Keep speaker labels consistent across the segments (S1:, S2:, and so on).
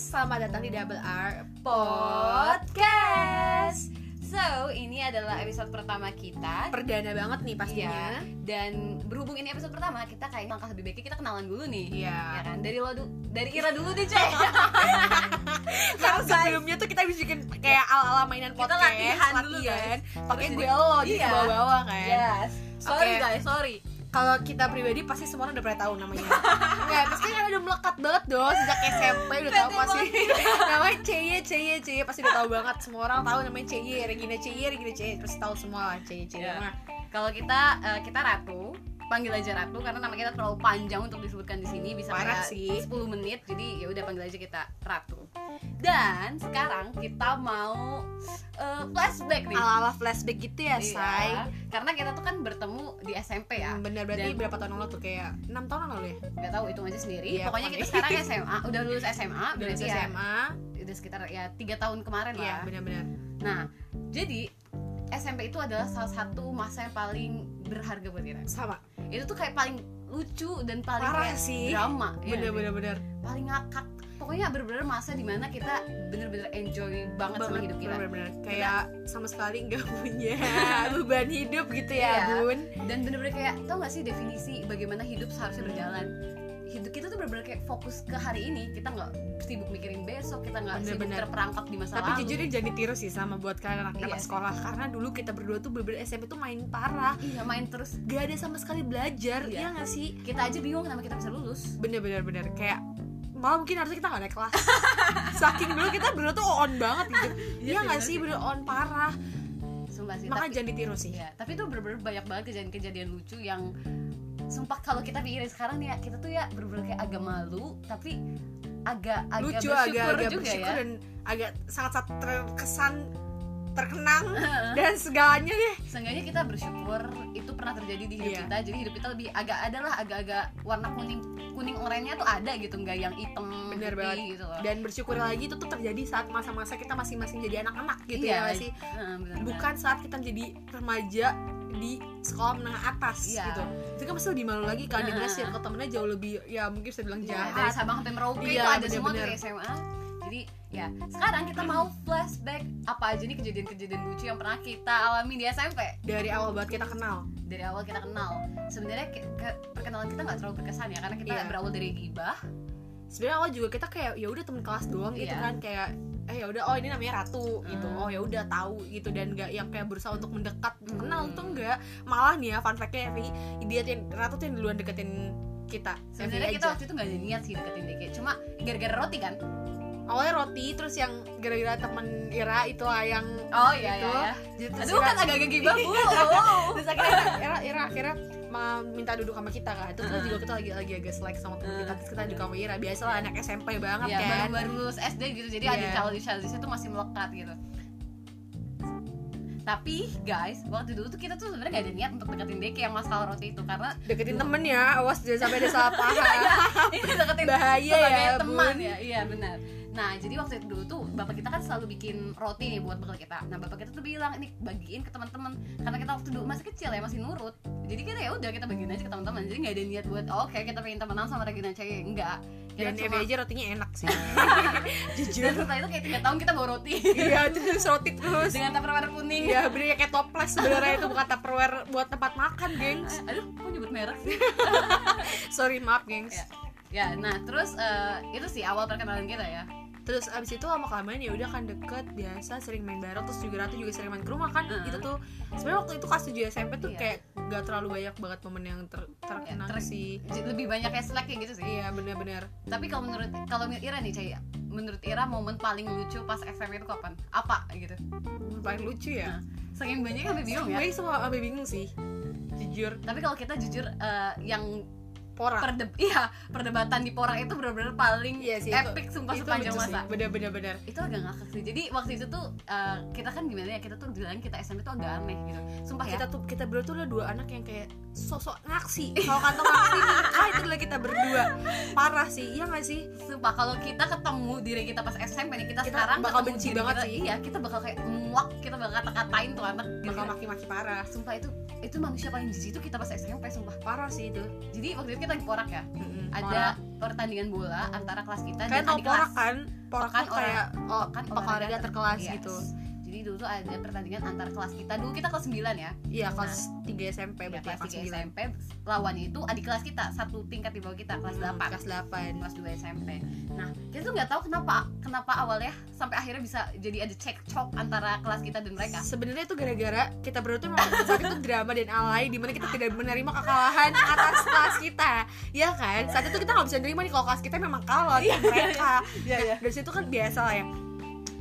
S1: selamat datang di Double R
S2: Podcast. So, ini adalah episode pertama kita. Iya.
S1: Perdana banget nih pastinya
S2: Dan berhubung ini episode pertama, kita kayak langkah lebih baiknya kita kenalan dulu nih.
S1: Iya
S2: Ya kan? Dari lo du- dari Ira dulu deh, Coy.
S1: Karena sebelumnya tuh kita bisa bikin kayak ala-ala mainan
S2: Kita
S1: podcast
S2: latihan dulu,
S1: latihan. Pakai
S2: Terus
S1: gue
S2: ini-
S1: lo di
S2: Iya.
S1: bawah-bawah kan
S2: yes. Sorry
S1: Oke.
S2: guys, sorry.
S1: Kalau kita pribadi pasti semua orang udah pernah tahu namanya Nggak, pasti kan udah melekat banget dong Sejak SMP udah tahu
S2: Pede
S1: pasti Namanya Cie, Cie, Cie Pasti udah tahu banget Semua orang tahu namanya Cie, Regina Cie, Regina Cie Terus tahu semua lah Cie, Cie
S2: Iya.
S1: Nah,
S2: Kalau kita eh, kita Ratu, panggil aja Ratu karena nama kita terlalu panjang untuk disebutkan di sini bisa
S1: Parah
S2: kayak
S1: sih.
S2: 10 menit. Jadi ya udah panggil aja kita Ratu. Dan sekarang kita mau eh, flashback nih.
S1: Ala-ala flashback gitu ya,
S2: Iya,
S1: Say
S2: Karena kita tuh kan bertemu di SMP ya.
S1: Hmm, Bener berarti
S2: Dan-
S1: berapa tahun yang lalu tuh kayak 6 tahun yang lalu ya?
S2: nggak tahu hitung aja sendiri.
S1: Iya,
S2: Pokoknya kita
S1: pokoknya.
S2: sekarang SMA, udah lulus SMA,
S1: Lulus
S2: berarti ya
S1: SMA.
S2: udah sekitar ya tiga tahun kemarin lah.
S1: Iya, benar-benar.
S2: Nah, jadi SMP itu adalah salah satu masa yang paling berharga buat kita.
S1: Sama.
S2: Itu tuh kayak paling lucu dan paling
S1: Parah
S2: kayak
S1: sih.
S2: drama, ya nggak sih?
S1: Bener-bener bener.
S2: paling ngakak. Pokoknya bener-bener masa dimana kita bener-bener enjoy banget, sama hidup kita.
S1: Bener-bener. Kayak sama sekali nggak punya beban hidup gitu ya,
S2: Iya.
S1: Bun.
S2: dan bener-bener kayak tau gak sih definisi bagaimana hidup seharusnya berjalan hidup kita tuh bener-bener kayak fokus ke hari ini kita nggak sibuk mikirin besok kita nggak sibuk
S1: Bener-bener.
S2: terperangkap di masa
S1: Tapi
S2: lalu
S1: jujur ini jadi tiru sih sama buat kalian anak-anak
S2: Iya sih.
S1: sekolah karena dulu kita berdua tuh bener-bener SMP tuh main parah.
S2: iya main terus
S1: Gak ada sama sekali belajar,
S2: Iya.
S1: iya nggak sih?
S2: kita aja bingung kenapa kita bisa lulus
S1: Bener-bener bener kayak malah mungkin harusnya kita gak naik kelas Saking dulu kita berdua tuh on banget gitu Iya gak sih bener on parah
S2: sumpah sih tapi,
S1: Makanya jangan ditiru sih
S2: iya, tapi itu bener-bener banyak banget kejadian-kejadian lucu yang sumpah kalau kita pikirin sekarang nih ya kita tuh ya bener-bener kayak agak malu tapi agak agak
S1: lucu
S2: bersyukur
S1: agak agak
S2: juga
S1: bersyukur
S2: ya
S1: dan agak sangat sangat terkesan terkenang dan segalanya deh
S2: Seenggaknya kita bersyukur itu pernah terjadi di hidup
S1: Iya.
S2: kita jadi hidup kita lebih agak adalah agak-agak warna kuning kuning oranye tuh ada gitu nggak yang hitam
S1: Bener
S2: putih
S1: banget.
S2: gitu loh
S1: dan bersyukur lagi itu tuh terjadi saat masa-masa kita masing-masing jadi anak-anak gitu
S2: Iya,
S1: ya nggak sih
S2: Heeh, bener banget.
S1: bukan saat kita menjadi remaja di sekolah menengah atas
S2: Iya.
S1: gitu itu kan pasti lebih malu lagi kan di mana
S2: Heeh.
S1: circle temennya jauh lebih ya mungkin bisa bilang
S2: Iya, dari
S1: jahat
S2: Sabang sampai Merauke
S1: Iya,
S2: itu ada semua tuh di
S1: bener-bener.
S2: SMA jadi ya sekarang kita mau flashback apa aja nih kejadian-kejadian lucu yang pernah kita alami di SMP
S1: dari awal banget kita kenal
S2: dari awal kita kenal sebenarnya ke- ke- perkenalan kita nggak terlalu berkesan ya karena kita
S1: Iya.
S2: berawal dari gibah
S1: sebenarnya awal juga kita kayak ya udah temen kelas doang gitu
S2: Iya.
S1: kan kayak eh ya udah oh ini namanya ratu gitu
S2: Hmm.
S1: oh ya udah tahu gitu dan nggak yang kayak berusaha untuk mendekat
S2: Hmm.
S1: kenal tuh enggak malah nih ya fun fact-nya Evi dia tuh yang- ratu tuh yang duluan deketin kita
S2: sebenarnya
S1: Evi
S2: kita
S1: aja.
S2: waktu itu nggak ada niat sih deketin DK cuma gara-gara roti kan
S1: awalnya roti terus yang gara-gara temen Ira itu lah yang
S2: Oh iya
S1: Gitu.
S2: iya. iya.
S1: jadi terus
S2: Aduh
S1: Ira-
S2: kan Iya, agak-agak gibah bu.
S1: terus akhirnya Ira, Ira akhirnya ma- minta duduk sama kita kan terus
S2: Hmm.
S1: juga kita lagi lagi agak selek sama temen kita terus kita duduk sama Ira biasalah anak SMP banget
S2: Iya
S1: kan
S2: baru-baru lulus SD gitu jadi
S1: Iya.
S2: ada childish childish itu masih melekat gitu. Tapi guys, waktu dulu tuh kita tuh sebenarnya gak ada niat untuk deketin Deke yang masalah roti itu karena
S1: deketin temen ya awas jangan sampai ada salah
S2: Iya,
S1: paham
S2: ini deketin
S1: bahaya
S2: sebagai
S1: ya
S2: teman
S1: Bun.
S2: ya. Iya benar. Nah, jadi waktu itu dulu tuh bapak kita kan selalu bikin roti nih buat bekal kita. Nah, bapak kita tuh bilang ini bagiin ke teman-teman karena kita waktu dulu masih kecil ya, masih nurut. Jadi kita ya udah kita bagiin aja ke teman-teman. Jadi nggak ada niat buat oh, oke kita pengen temenan sama Regina Cahaya. Enggak. Kita
S1: dan
S2: cuma-
S1: Evi aja rotinya enak sih
S2: Dan
S1: jujur
S2: setelah itu kayak tiga tahun kita bawa roti
S1: iya terus roti terus
S2: dengan tupperware kuning.
S1: Iya bener kayak toples sebenarnya itu bukan tupperware buat tempat makan gengs
S2: Aduh, kok nyebut merek sih?
S1: sorry maaf gengs
S2: Iya. ya, nah terus eh, itu sih awal perkenalan kita ya.
S1: terus abis itu lama kelamaan ya udah kan deket biasa sering main bareng terus juga ratu juga sering main ke rumah kan
S2: Hmm.
S1: itu tuh sebenarnya waktu itu kelas 7 SMP tuh
S2: Iya.
S1: kayak gak terlalu banyak banget momen yang ter- terkenang
S2: ter-
S1: sih
S2: Jadi Lebih banyak kayak slack kayak gitu sih.
S1: iya bener-bener
S2: Tapi kalau menurut kalau menurut Ira nih, Cai, menurut Ira momen paling lucu pas SMP itu kapan? Apa gitu? Nah,
S1: paling lucu ya
S2: Saking banyak sampai bingung ya.
S1: Sebenarnya semua sampai bingung sih jujur
S2: Tapi kalau kita jujur eh, yang
S1: porak
S2: perdeb iya, perdebatan di Porang itu benar-benar paling
S1: Iya sih, itu-
S2: epic sumpah sepanjang
S1: lucu
S2: masa.
S1: sih bener-bener bener
S2: itu agak ngakak sih jadi waktu itu tuh eh, kita kan gimana ya kita tuh bilang kita SMP tuh agak aneh gitu sumpah ya
S1: kita tuh kita berdua tuh udah dua anak yang kayak sosok naksi kalau kantong naksi nikah itu adalah kita berdua parah sih iya nggak sih
S2: Sumpah kalau kita ketemu diri kita pas SMP nih kita,
S1: Kita
S2: sekarang
S1: bakal
S2: ketemu
S1: benci
S2: diri
S1: banget
S2: kita,
S1: sih.
S2: Iya, kita bakal kayak muak, kita bakal kata-katain tuh anak. gitu.
S1: bakal maki-maki parah
S2: Sumpah itu itu manusia paling jijik itu kita pas SMP sumpah.
S1: parah sih itu
S2: Jadi waktu itu kita lagi porak ya.
S1: Mm-mm, parah.
S2: Ada pertandingan bola antara kelas kita
S1: kayak
S2: dan
S1: tau
S2: adik
S1: porak
S2: kelas.
S1: kan porak
S2: Porak
S1: kan kayak oh,
S2: Kan Iya.
S1: olahraga terkelas
S2: Yes.
S1: gitu
S2: Jadi dulu tuh ada pertandingan antara kelas kita. Dulu kita kelas 9 ya.
S1: iya kelas 3
S2: Ya,
S1: SMP berarti
S2: kelas 3
S1: Iya, sembilan.
S2: SMP lawannya itu adik kelas kita, satu tingkat di bawah kita, kelas
S1: Hmm,
S2: 8.
S1: kelas 8
S2: kelas 2 SMP. Nah, kita tuh nggak tahu kenapa kenapa awalnya sampai akhirnya bisa jadi ada cekcok antara kelas kita dan mereka.
S1: Sebenarnya itu gara-gara kita berdua tuh memang saat itu drama dan alay dimana kita tidak menerima kekalahan atas kelas kita, ya kan? Saat itu kita nggak bisa nerima nih kalau kelas kita memang kalah lawan mereka.
S2: Iya,
S1: Nah, dari situ kan biasa lah ya.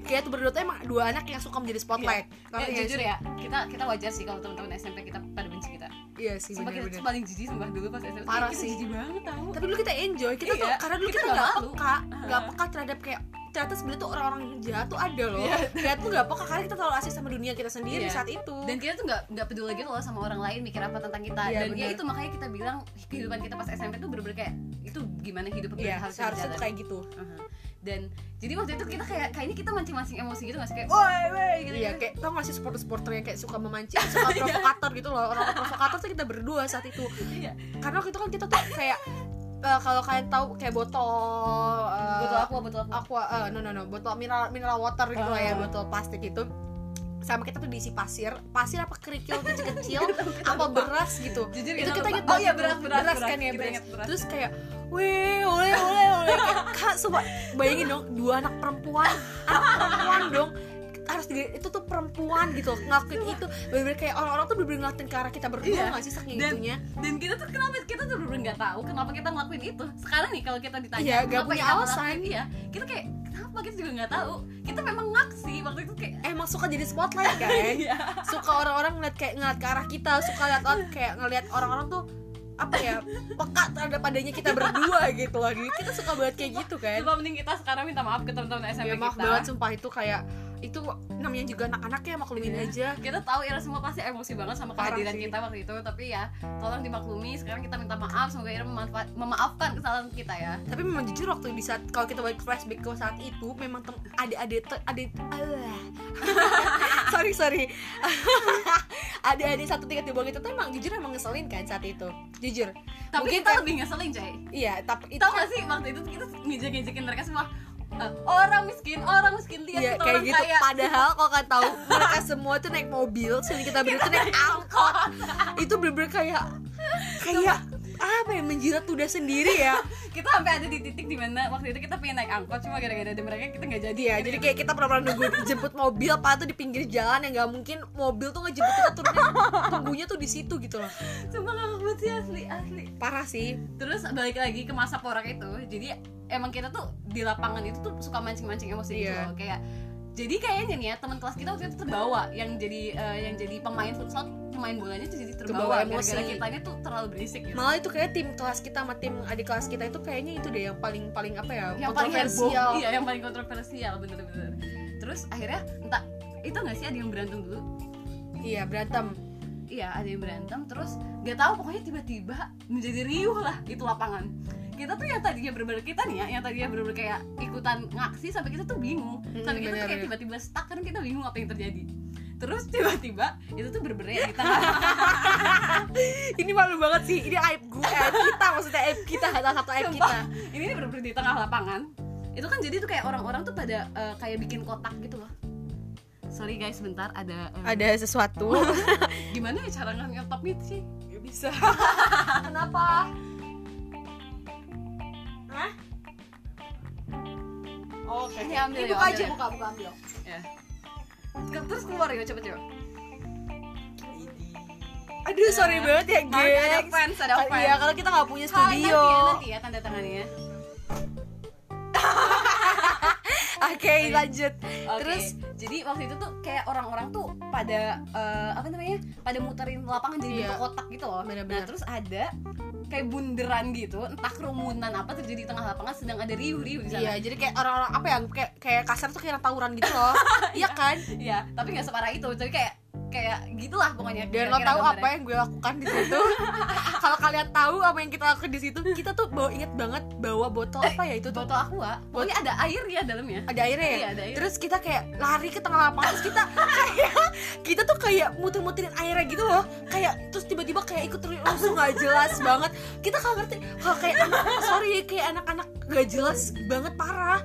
S1: Kita tuh berdua tuh emang dua anak yang suka menjadi spotlight. Ngerti nggak
S2: jujur
S1: sih?
S2: ya, kita kita wajar sih kalau teman-teman SMP kita pada benci kita.
S1: Iya sih
S2: Sumpah kita tuh
S1: benar-benar.
S2: paling jijik sumpah dulu pas SMP.
S1: Parah
S2: kita
S1: sih.
S2: jijik banget tau.
S1: Tapi dulu kita enjoy, kita tuh
S2: Iya,
S1: karena dulu
S2: kita
S1: kita
S2: nggak
S1: nggak
S2: malu.
S1: peka, nggak peka terhadap kayak ternyata sebenarnya tuh orang-orang jahat tuh ada loh. Kita tuh nggak peka karena kita terlalu asik sama dunia kita sendiri
S2: Iya.
S1: saat itu.
S2: Dan kita tuh nggak nggak peduli gitu loh sama orang lain mikir apa tentang kita.
S1: Iya,
S2: dan ya
S1: benar.
S2: itu makanya kita bilang kehidupan kita pas SMP tuh bener-bener kayak itu gimana hidup
S1: Iya,
S2: harus
S1: seharusnya tuh
S2: berjalan.
S1: kayak gitu.
S2: Aha. Dan jadi waktu itu kita kayak kayaknya kita mancing-mancing emosi gitu nggak sih kayak woi woi gitu.
S1: Iya, kayak tau gak sih supporter-supporter yang kayak suka memancing, suka provokator gitu loh Orang provokator tuh kita berdua saat itu
S2: Iya.
S1: Karena waktu itu kan kita tuh kayak eh, Kalau kalian tahu kayak botol eh,
S2: Betul aku, betul aku.
S1: Aqua, eh, no no no, botol mineral, mineral water gitu lah ya,
S2: Ah.
S1: botol plastik itu sama kita tuh diisi pasir, pasir apa kerikil kecil-kecil, apa beras gitu.
S2: Jujur
S1: itu kita inget
S2: lupa. oh
S1: banget
S2: iya
S1: tuh.
S2: beras beras,
S1: kan ya
S2: Kita
S1: beras.
S2: inget beras.
S1: terus kayak weh oleh oleh oleh Kayak, kak coba bayangin dong dua anak perempuan anak perempuan dong harus digede- itu tuh perempuan gitu ngelakuin itu bener-bener kayak orang-orang tuh bener-bener ngeliatin ke arah kita berdua
S2: Iya.
S1: nggak sih saking
S2: Dan-
S1: itunya
S2: dan kita tuh kenapa kita tuh bener nggak tahu kenapa kita ngelakuin itu sekarang nih kalau kita ditanya
S1: Iya, nggak
S2: kenapa
S1: punya
S2: kita
S1: alasan.
S2: ngelakuin, iya kita kayak kenapa kita juga nggak tahu kita memang ngaksi waktu itu kayak
S1: emang suka jadi spotlight kan
S2: iya
S1: suka orang-orang ngeliat kayak ngeliat ke arah kita suka lihat orang- kayak ngeliat orang-orang tuh apa ya peka terhadap adanya kita berdua gitu loh Jadi kita suka banget kayak gitu kan
S2: coba mending kita sekarang minta maaf ke teman-teman SMP
S1: ya maaf
S2: kita
S1: banget sumpah itu kayak itu namanya juga anak-anak ya maklumin
S2: Iya.
S1: aja
S2: kita tahu Ira semua pasti emosi banget sama
S1: Parah
S2: kehadiran
S1: sih.
S2: kita waktu itu tapi ya tolong dimaklumi sekarang kita minta maaf semoga Ira memanfaat- memaafkan kesalahan kita ya
S1: tapi memang jujur waktu di saat kalau kita balik flashback ke saat itu memang tem- ada ada te- ada alah. sorry sorry ada ada satu tingkat di bawah kita tuh emang jujur emang ngeselin kan saat itu jujur
S2: tapi
S1: Mungkin
S2: kita
S1: kayak-
S2: lebih ngeselin Jay
S1: iya tapi itu
S2: tau gak sih waktu itu kita ngejek-ngejekin mereka semua "Eh, orang miskin orang miskin lihat
S1: Iya
S2: kita
S1: kayak
S2: orang
S1: gitu.
S2: kaya
S1: Padahal kalau kalian tahu mereka semua tuh naik mobil, sini kita berdua tuh naik angkot. Itu bener-bener kayak kayak apa ya menjilat udah sendiri ya.
S2: kita sampai ada di titik dimana waktu itu kita pengen naik angkot cuma gara-gara ada mereka kita nggak jadi
S1: Iya, jadi kayak kita pernah nunggu jemput mobil apa tuh di pinggir jalan yang nggak mungkin mobil tuh ngejemput kita turunnya tunggunya tuh di situ gitu loh.
S2: cuma ngakak banget sih asli asli
S1: Parah sih.
S2: terus balik lagi ke masa porak itu jadi emang kita tuh di lapangan itu tuh suka mancing-mancing emosi gitu
S1: Iya.
S2: loh kayak jadi kayaknya nih ya teman kelas kita waktu itu terbawa yang jadi eh, yang jadi pemain futsal pemain bolanya tuh jadi terbawa
S1: Terbawa emosi.
S2: gara-gara kitanya tuh terlalu berisik gitu
S1: Malah itu kayak tim kelas kita sama tim adik kelas kita itu kayaknya itu deh yang paling paling apa ya?
S2: yang paling heboh
S1: kontroversial.
S2: iya yang paling kontroversial bener-bener terus akhirnya entah itu nggak sih ada yang berantem dulu
S1: Iya, berantem.
S2: iya ada yang berantem terus nggak tahu pokoknya tiba-tiba menjadi riuh lah itu lapangan kita tuh yang tadinya bener-bener kita nih ya yang tadinya bener-bener kayak ikutan ngaksi sampai kita tuh bingung
S1: Mm,
S2: sampai kita tuh
S1: bener,
S2: kayak
S1: bener.
S2: tiba-tiba stuck karena kita bingung apa yang terjadi terus tiba-tiba itu tuh bener-bener ya kita
S1: Ini malu banget sih. Ini aib gue, aib kita maksudnya aib kita salah satu aib kita.
S2: Sumpah, ini bener-bener di tengah lapangan itu kan jadi tuh kayak orang-orang tuh pada eh, kayak bikin kotak gitu loh sorry guys bentar ada eh,
S1: ada sesuatu
S2: gimana ya cara ngetop itu sih
S1: nggak bisa kenapa Hah?
S2: oke ambil ya,
S1: Ini buka
S2: ambil
S1: Oh, aja
S2: ya.
S1: buka buka ambil
S2: Ya. Ke- terus keluar ya cepet-cepet
S1: aduh sorry banget ya
S2: Maaf, Nah. ada
S1: guys
S2: fans, ada
S1: Ka-
S2: fans.
S1: iya kalau kita nggak punya studio
S2: Hai, nanti ya, nanti ya tanda tangannya.
S1: oke lanjut
S2: Oke.
S1: terus
S2: jadi waktu itu tuh kayak orang-orang tuh pada eh, apa namanya? Pada muterin lapangan jadi
S1: Iya.
S2: bentuk kotak gitu loh.
S1: Bener-bener.
S2: Nah, terus ada kayak bunderan gitu, entah kerumunan apa terjadi di tengah lapangan sedang ada riuh-riuh di sana.
S1: iya jadi kayak orang-orang apa ya kayak kayak kasar tuh kayak tawuran gitu loh iya kan
S2: Iya, tapi nggak separah itu. Tapi kayak kayak gitulah pokoknya
S1: dan lo
S2: kira-kira
S1: tahu apa
S2: gambarnya.
S1: yang gue lakukan di situ kalau kalian tahu apa yang kita lakukan di situ kita tuh bawa inget banget bawa botol apa ya itu tuh
S2: botol aqua pokoknya ada air ya dalamnya
S1: ada airnya ya
S2: Iya, ada air.
S1: terus kita kayak lari ke tengah lapangan terus kita kayak kita tuh kayak muter-muterin airnya gitu loh kayak terus tiba-tiba kayak ikut terus langsung nggak jelas banget kita kagak ngerti kalau kayak anak sorry ya, kayak anak-anak gak jelas banget parah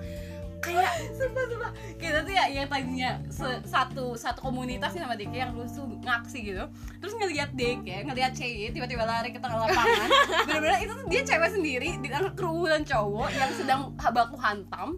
S1: kayak
S2: sumpah sumpah kita tuh ya yang tadinya se- satu satu komunitas nih sama Deke yang rusuh ngaksi gitu terus ngelihat Deke ngelihat Cey tiba-tiba lari ke tengah lapangan bener-bener itu tuh dia cewek sendiri di tengah kerumunan cowok yang sedang baku hantam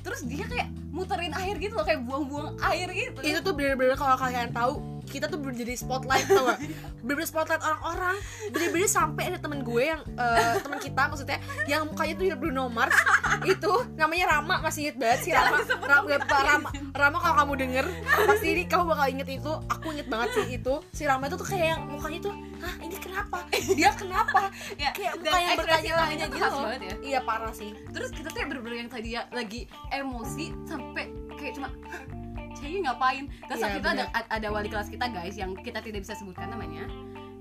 S2: terus dia kayak muterin air gitu loh kayak buang-buang air gitu
S1: itu tuh bener-bener kalau kalian tahu kita tuh bener jadi spotlight tuh bener-bener spotlight orang-orang bener-bener sampai ada temen gue yang eh, temen kita maksudnya yang mukanya tuh mirip Bruno Mars itu namanya Rama masih inget banget sih Rama Rama, Rama, Rama kalau kamu denger pasti ini kamu bakal inget itu aku inget banget sih itu si Rama itu tuh kayak yang mukanya tuh hah ini kenapa dia kenapa
S2: ya,
S1: kayak
S2: dan
S1: muka yang
S2: ekspresi
S1: bertanya-tanya
S2: tangannya tuh
S1: gitu
S2: khas
S1: loh.
S2: banget ya
S1: iya parah sih
S2: terus kita tuh ya bener-bener yang tadi ya lagi emosi sampai kayak cuma "Hah, Cahaya ngapain terus
S1: Iya,
S2: waktu itu ada ada wali kelas kita guys yang kita tidak bisa sebutkan namanya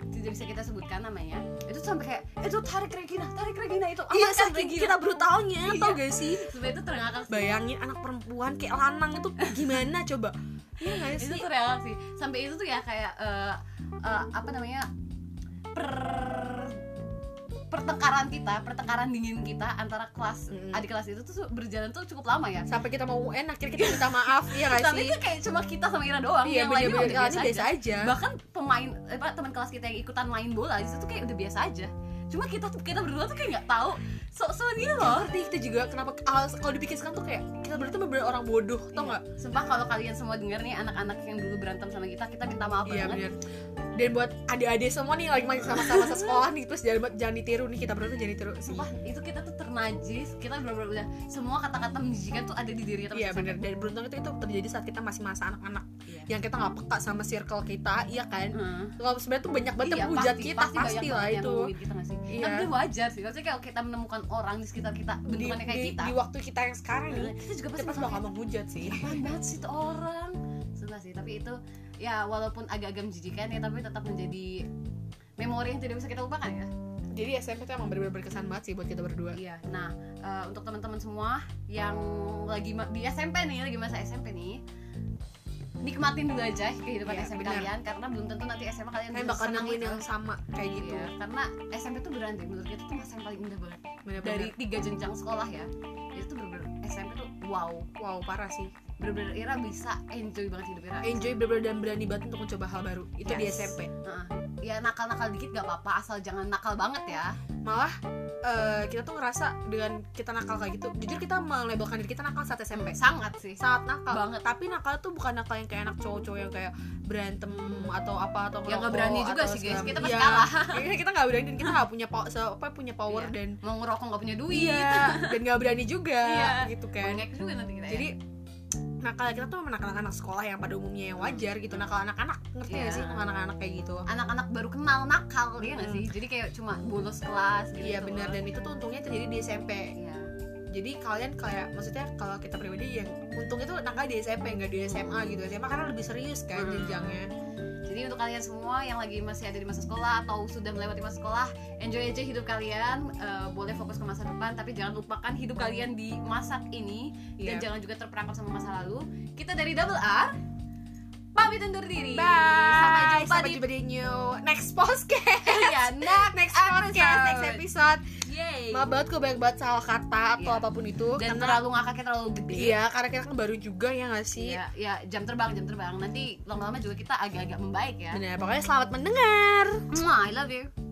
S2: tidak bisa kita sebutkan namanya itu sampai kayak itu tarik Regina tarik Regina itu
S1: iya
S2: amankan
S1: saking kita brutalnya tau
S2: Iya.
S1: gak sih
S2: sebenarnya itu terengakak sih
S1: bayangin anak perempuan kayak lanang itu gimana coba iya gak
S2: itu
S1: sih
S2: tuh terengakak sih sampai itu tuh ya kayak eh, eh, apa namanya per pertengkaran kita pertengkaran dingin kita antara kelas
S1: Mm-mm.
S2: adik kelas itu tuh berjalan tuh cukup lama ya
S1: sampai kita mau UN akhirnya kita minta maaf ya gak
S2: tapi
S1: sih
S2: itu kayak cuma kita sama Ira doang yang
S1: iya
S2: lainnya
S1: bener-bener
S2: udah
S1: biasa,
S2: biasa,
S1: biasa
S2: aja.
S1: aja
S2: bahkan pemain apa teman kelas kita yang ikutan main bola itu tuh kayak udah biasa aja cuma kita tuh kita berdua tuh kayak nggak tahu so so gitu
S1: Gak
S2: loh
S1: ngerti kita juga kenapa ah, kalau dipikir sekarang tuh kayak kita berarti bener orang bodoh
S2: Iya.
S1: tau gak
S2: sumpah kalau kalian semua denger nih anak-anak yang dulu berantem sama kita kita minta maaf
S1: iya
S2: banget
S1: bener dan buat adik-adik semua nih lagi masih sama-sama masa sekolah nih terus jangan jangan ditiru nih kita berdua jangan ditiru sih
S2: sumpah itu kita tuh ternajis kita bener-bener udah semua kata-kata menjijikan tuh ada di diri kita
S1: iya
S2: masing-masing.
S1: bener dan beruntung itu itu terjadi saat kita masih masa anak-anak
S2: Iya.
S1: yang kita nggak peka sama circle kita iya kan
S2: Heeh.
S1: kalau sebenarnya tuh banyak banget yang
S2: Iya,
S1: hujat
S2: pasti-
S1: kita pasti,
S2: banyak
S1: lah
S2: banget yang
S1: itu
S2: ngomongin kita nggak sih?
S1: Iya.
S2: tapi wajar sih maksudnya kalau kita menemukan orang di sekitar kita
S1: di,
S2: bentukannya kayak
S1: di-
S2: kita
S1: di waktu kita yang sekarang nih
S2: kita juga
S1: kita
S2: pasti
S1: pasti
S2: bakal
S1: bakal menghujat sih
S2: apaan banget sih itu orang Sumpah sih, tapi itu ya walaupun agak-agak menjijikan ya tapi tetap menjadi memori yang tidak bisa kita lupakan ya
S1: jadi SMP tuh emang bener-bener berkesan banget sih buat kita berdua
S2: Iya, nah eh, untuk teman-teman semua yang lagi ma- di SMP nih, lagi masa SMP nih nikmatin dulu aja kehidupan
S1: Iya,
S2: SMP
S1: benar.
S2: kalian karena belum tentu nanti SMA kalian
S1: kalian
S2: bisa
S1: bakal
S2: senang
S1: nemuin
S2: itu.
S1: yang sama kayak gitu
S2: Iya, karena SMP tuh beneran deh, menurut kita tuh masa yang paling indah banget
S1: Iya,
S2: dari
S1: bener-bener
S2: tiga jenjang sekolah ya itu tuh bener-bener SMP tuh wow
S1: wow parah sih
S2: bener-bener Ira bisa enjoy banget hidup Ira
S1: enjoy bener-bener dan berani banget untuk mencoba hal baru itu di
S2: Yes.
S1: SMP
S2: Heeh. ya nakal-nakal dikit gak apa-apa asal jangan nakal banget ya
S1: malah eh, kita tuh ngerasa dengan kita nakal kayak gitu jujur kita melabelkan diri kita nakal saat SMP
S2: sangat sih
S1: saat nakal
S2: Banget.
S1: tapi nakal tuh bukan nakal yang kayak anak cowok-cowok yang kayak berantem atau apa atau
S2: Ya, nggak
S1: ngerokok
S2: berani juga
S1: atau
S2: sih, guys.
S1: segala-
S2: Kita pasti
S1: Iya,
S2: kalah.
S1: kayaknya kita nggak berani dan kita nggak punya po- se- apa punya power
S2: Iya.
S1: dan
S2: mau ngerokok gak punya duit
S1: iya dan nggak berani juga
S2: Iya.
S1: gitu
S2: Mau
S1: kan
S2: ngek juga nanti kita
S1: jadi nakal kita tuh menakal anak sekolah yang pada umumnya yang wajar gitu nakal anak-anak ngerti
S2: Iya.
S1: gak sih nakal anak-anak kayak gitu
S2: ya. anak-anak baru kenal nakal ya gak sih jadi kayak cuma bolos kelas gitu
S1: iya benar dan itu tuh untungnya terjadi di SMP
S2: Iya.
S1: jadi kalian kayak maksudnya kalau kita pribadi yang untungnya tuh nakal di SMP nggak di SMA gitu SMA karena lebih serius kan
S2: Hmm.
S1: jenjangnya
S2: jadi untuk kalian semua yang lagi masih ada di masa sekolah atau sudah melewati masa sekolah enjoy aja hidup kalian Eh, boleh fokus ke masa depan tapi jangan lupakan hidup kalian di masa ini dan
S1: Iya.
S2: jangan juga terperangkap sama masa lalu kita dari Double R pamit undur diri sampai
S1: bye
S2: jumpa
S1: sampai
S2: di
S1: jumpa di new next podcast
S2: ya, next
S1: next podcast next episode
S2: Yay.
S1: maaf banget gue banyak banget salah kata atau
S2: Iya.
S1: apapun itu
S2: Dan
S1: karena
S2: terlalu ngakaknya terlalu gede.
S1: iya karena kita kan baru juga ya nggak sih
S2: Iya, ya, jam terbang, jam terbang. Nanti lama-lama juga kita agak-agak membaik ya.
S1: benar pokoknya selamat mendengar
S2: Mwah, I love you.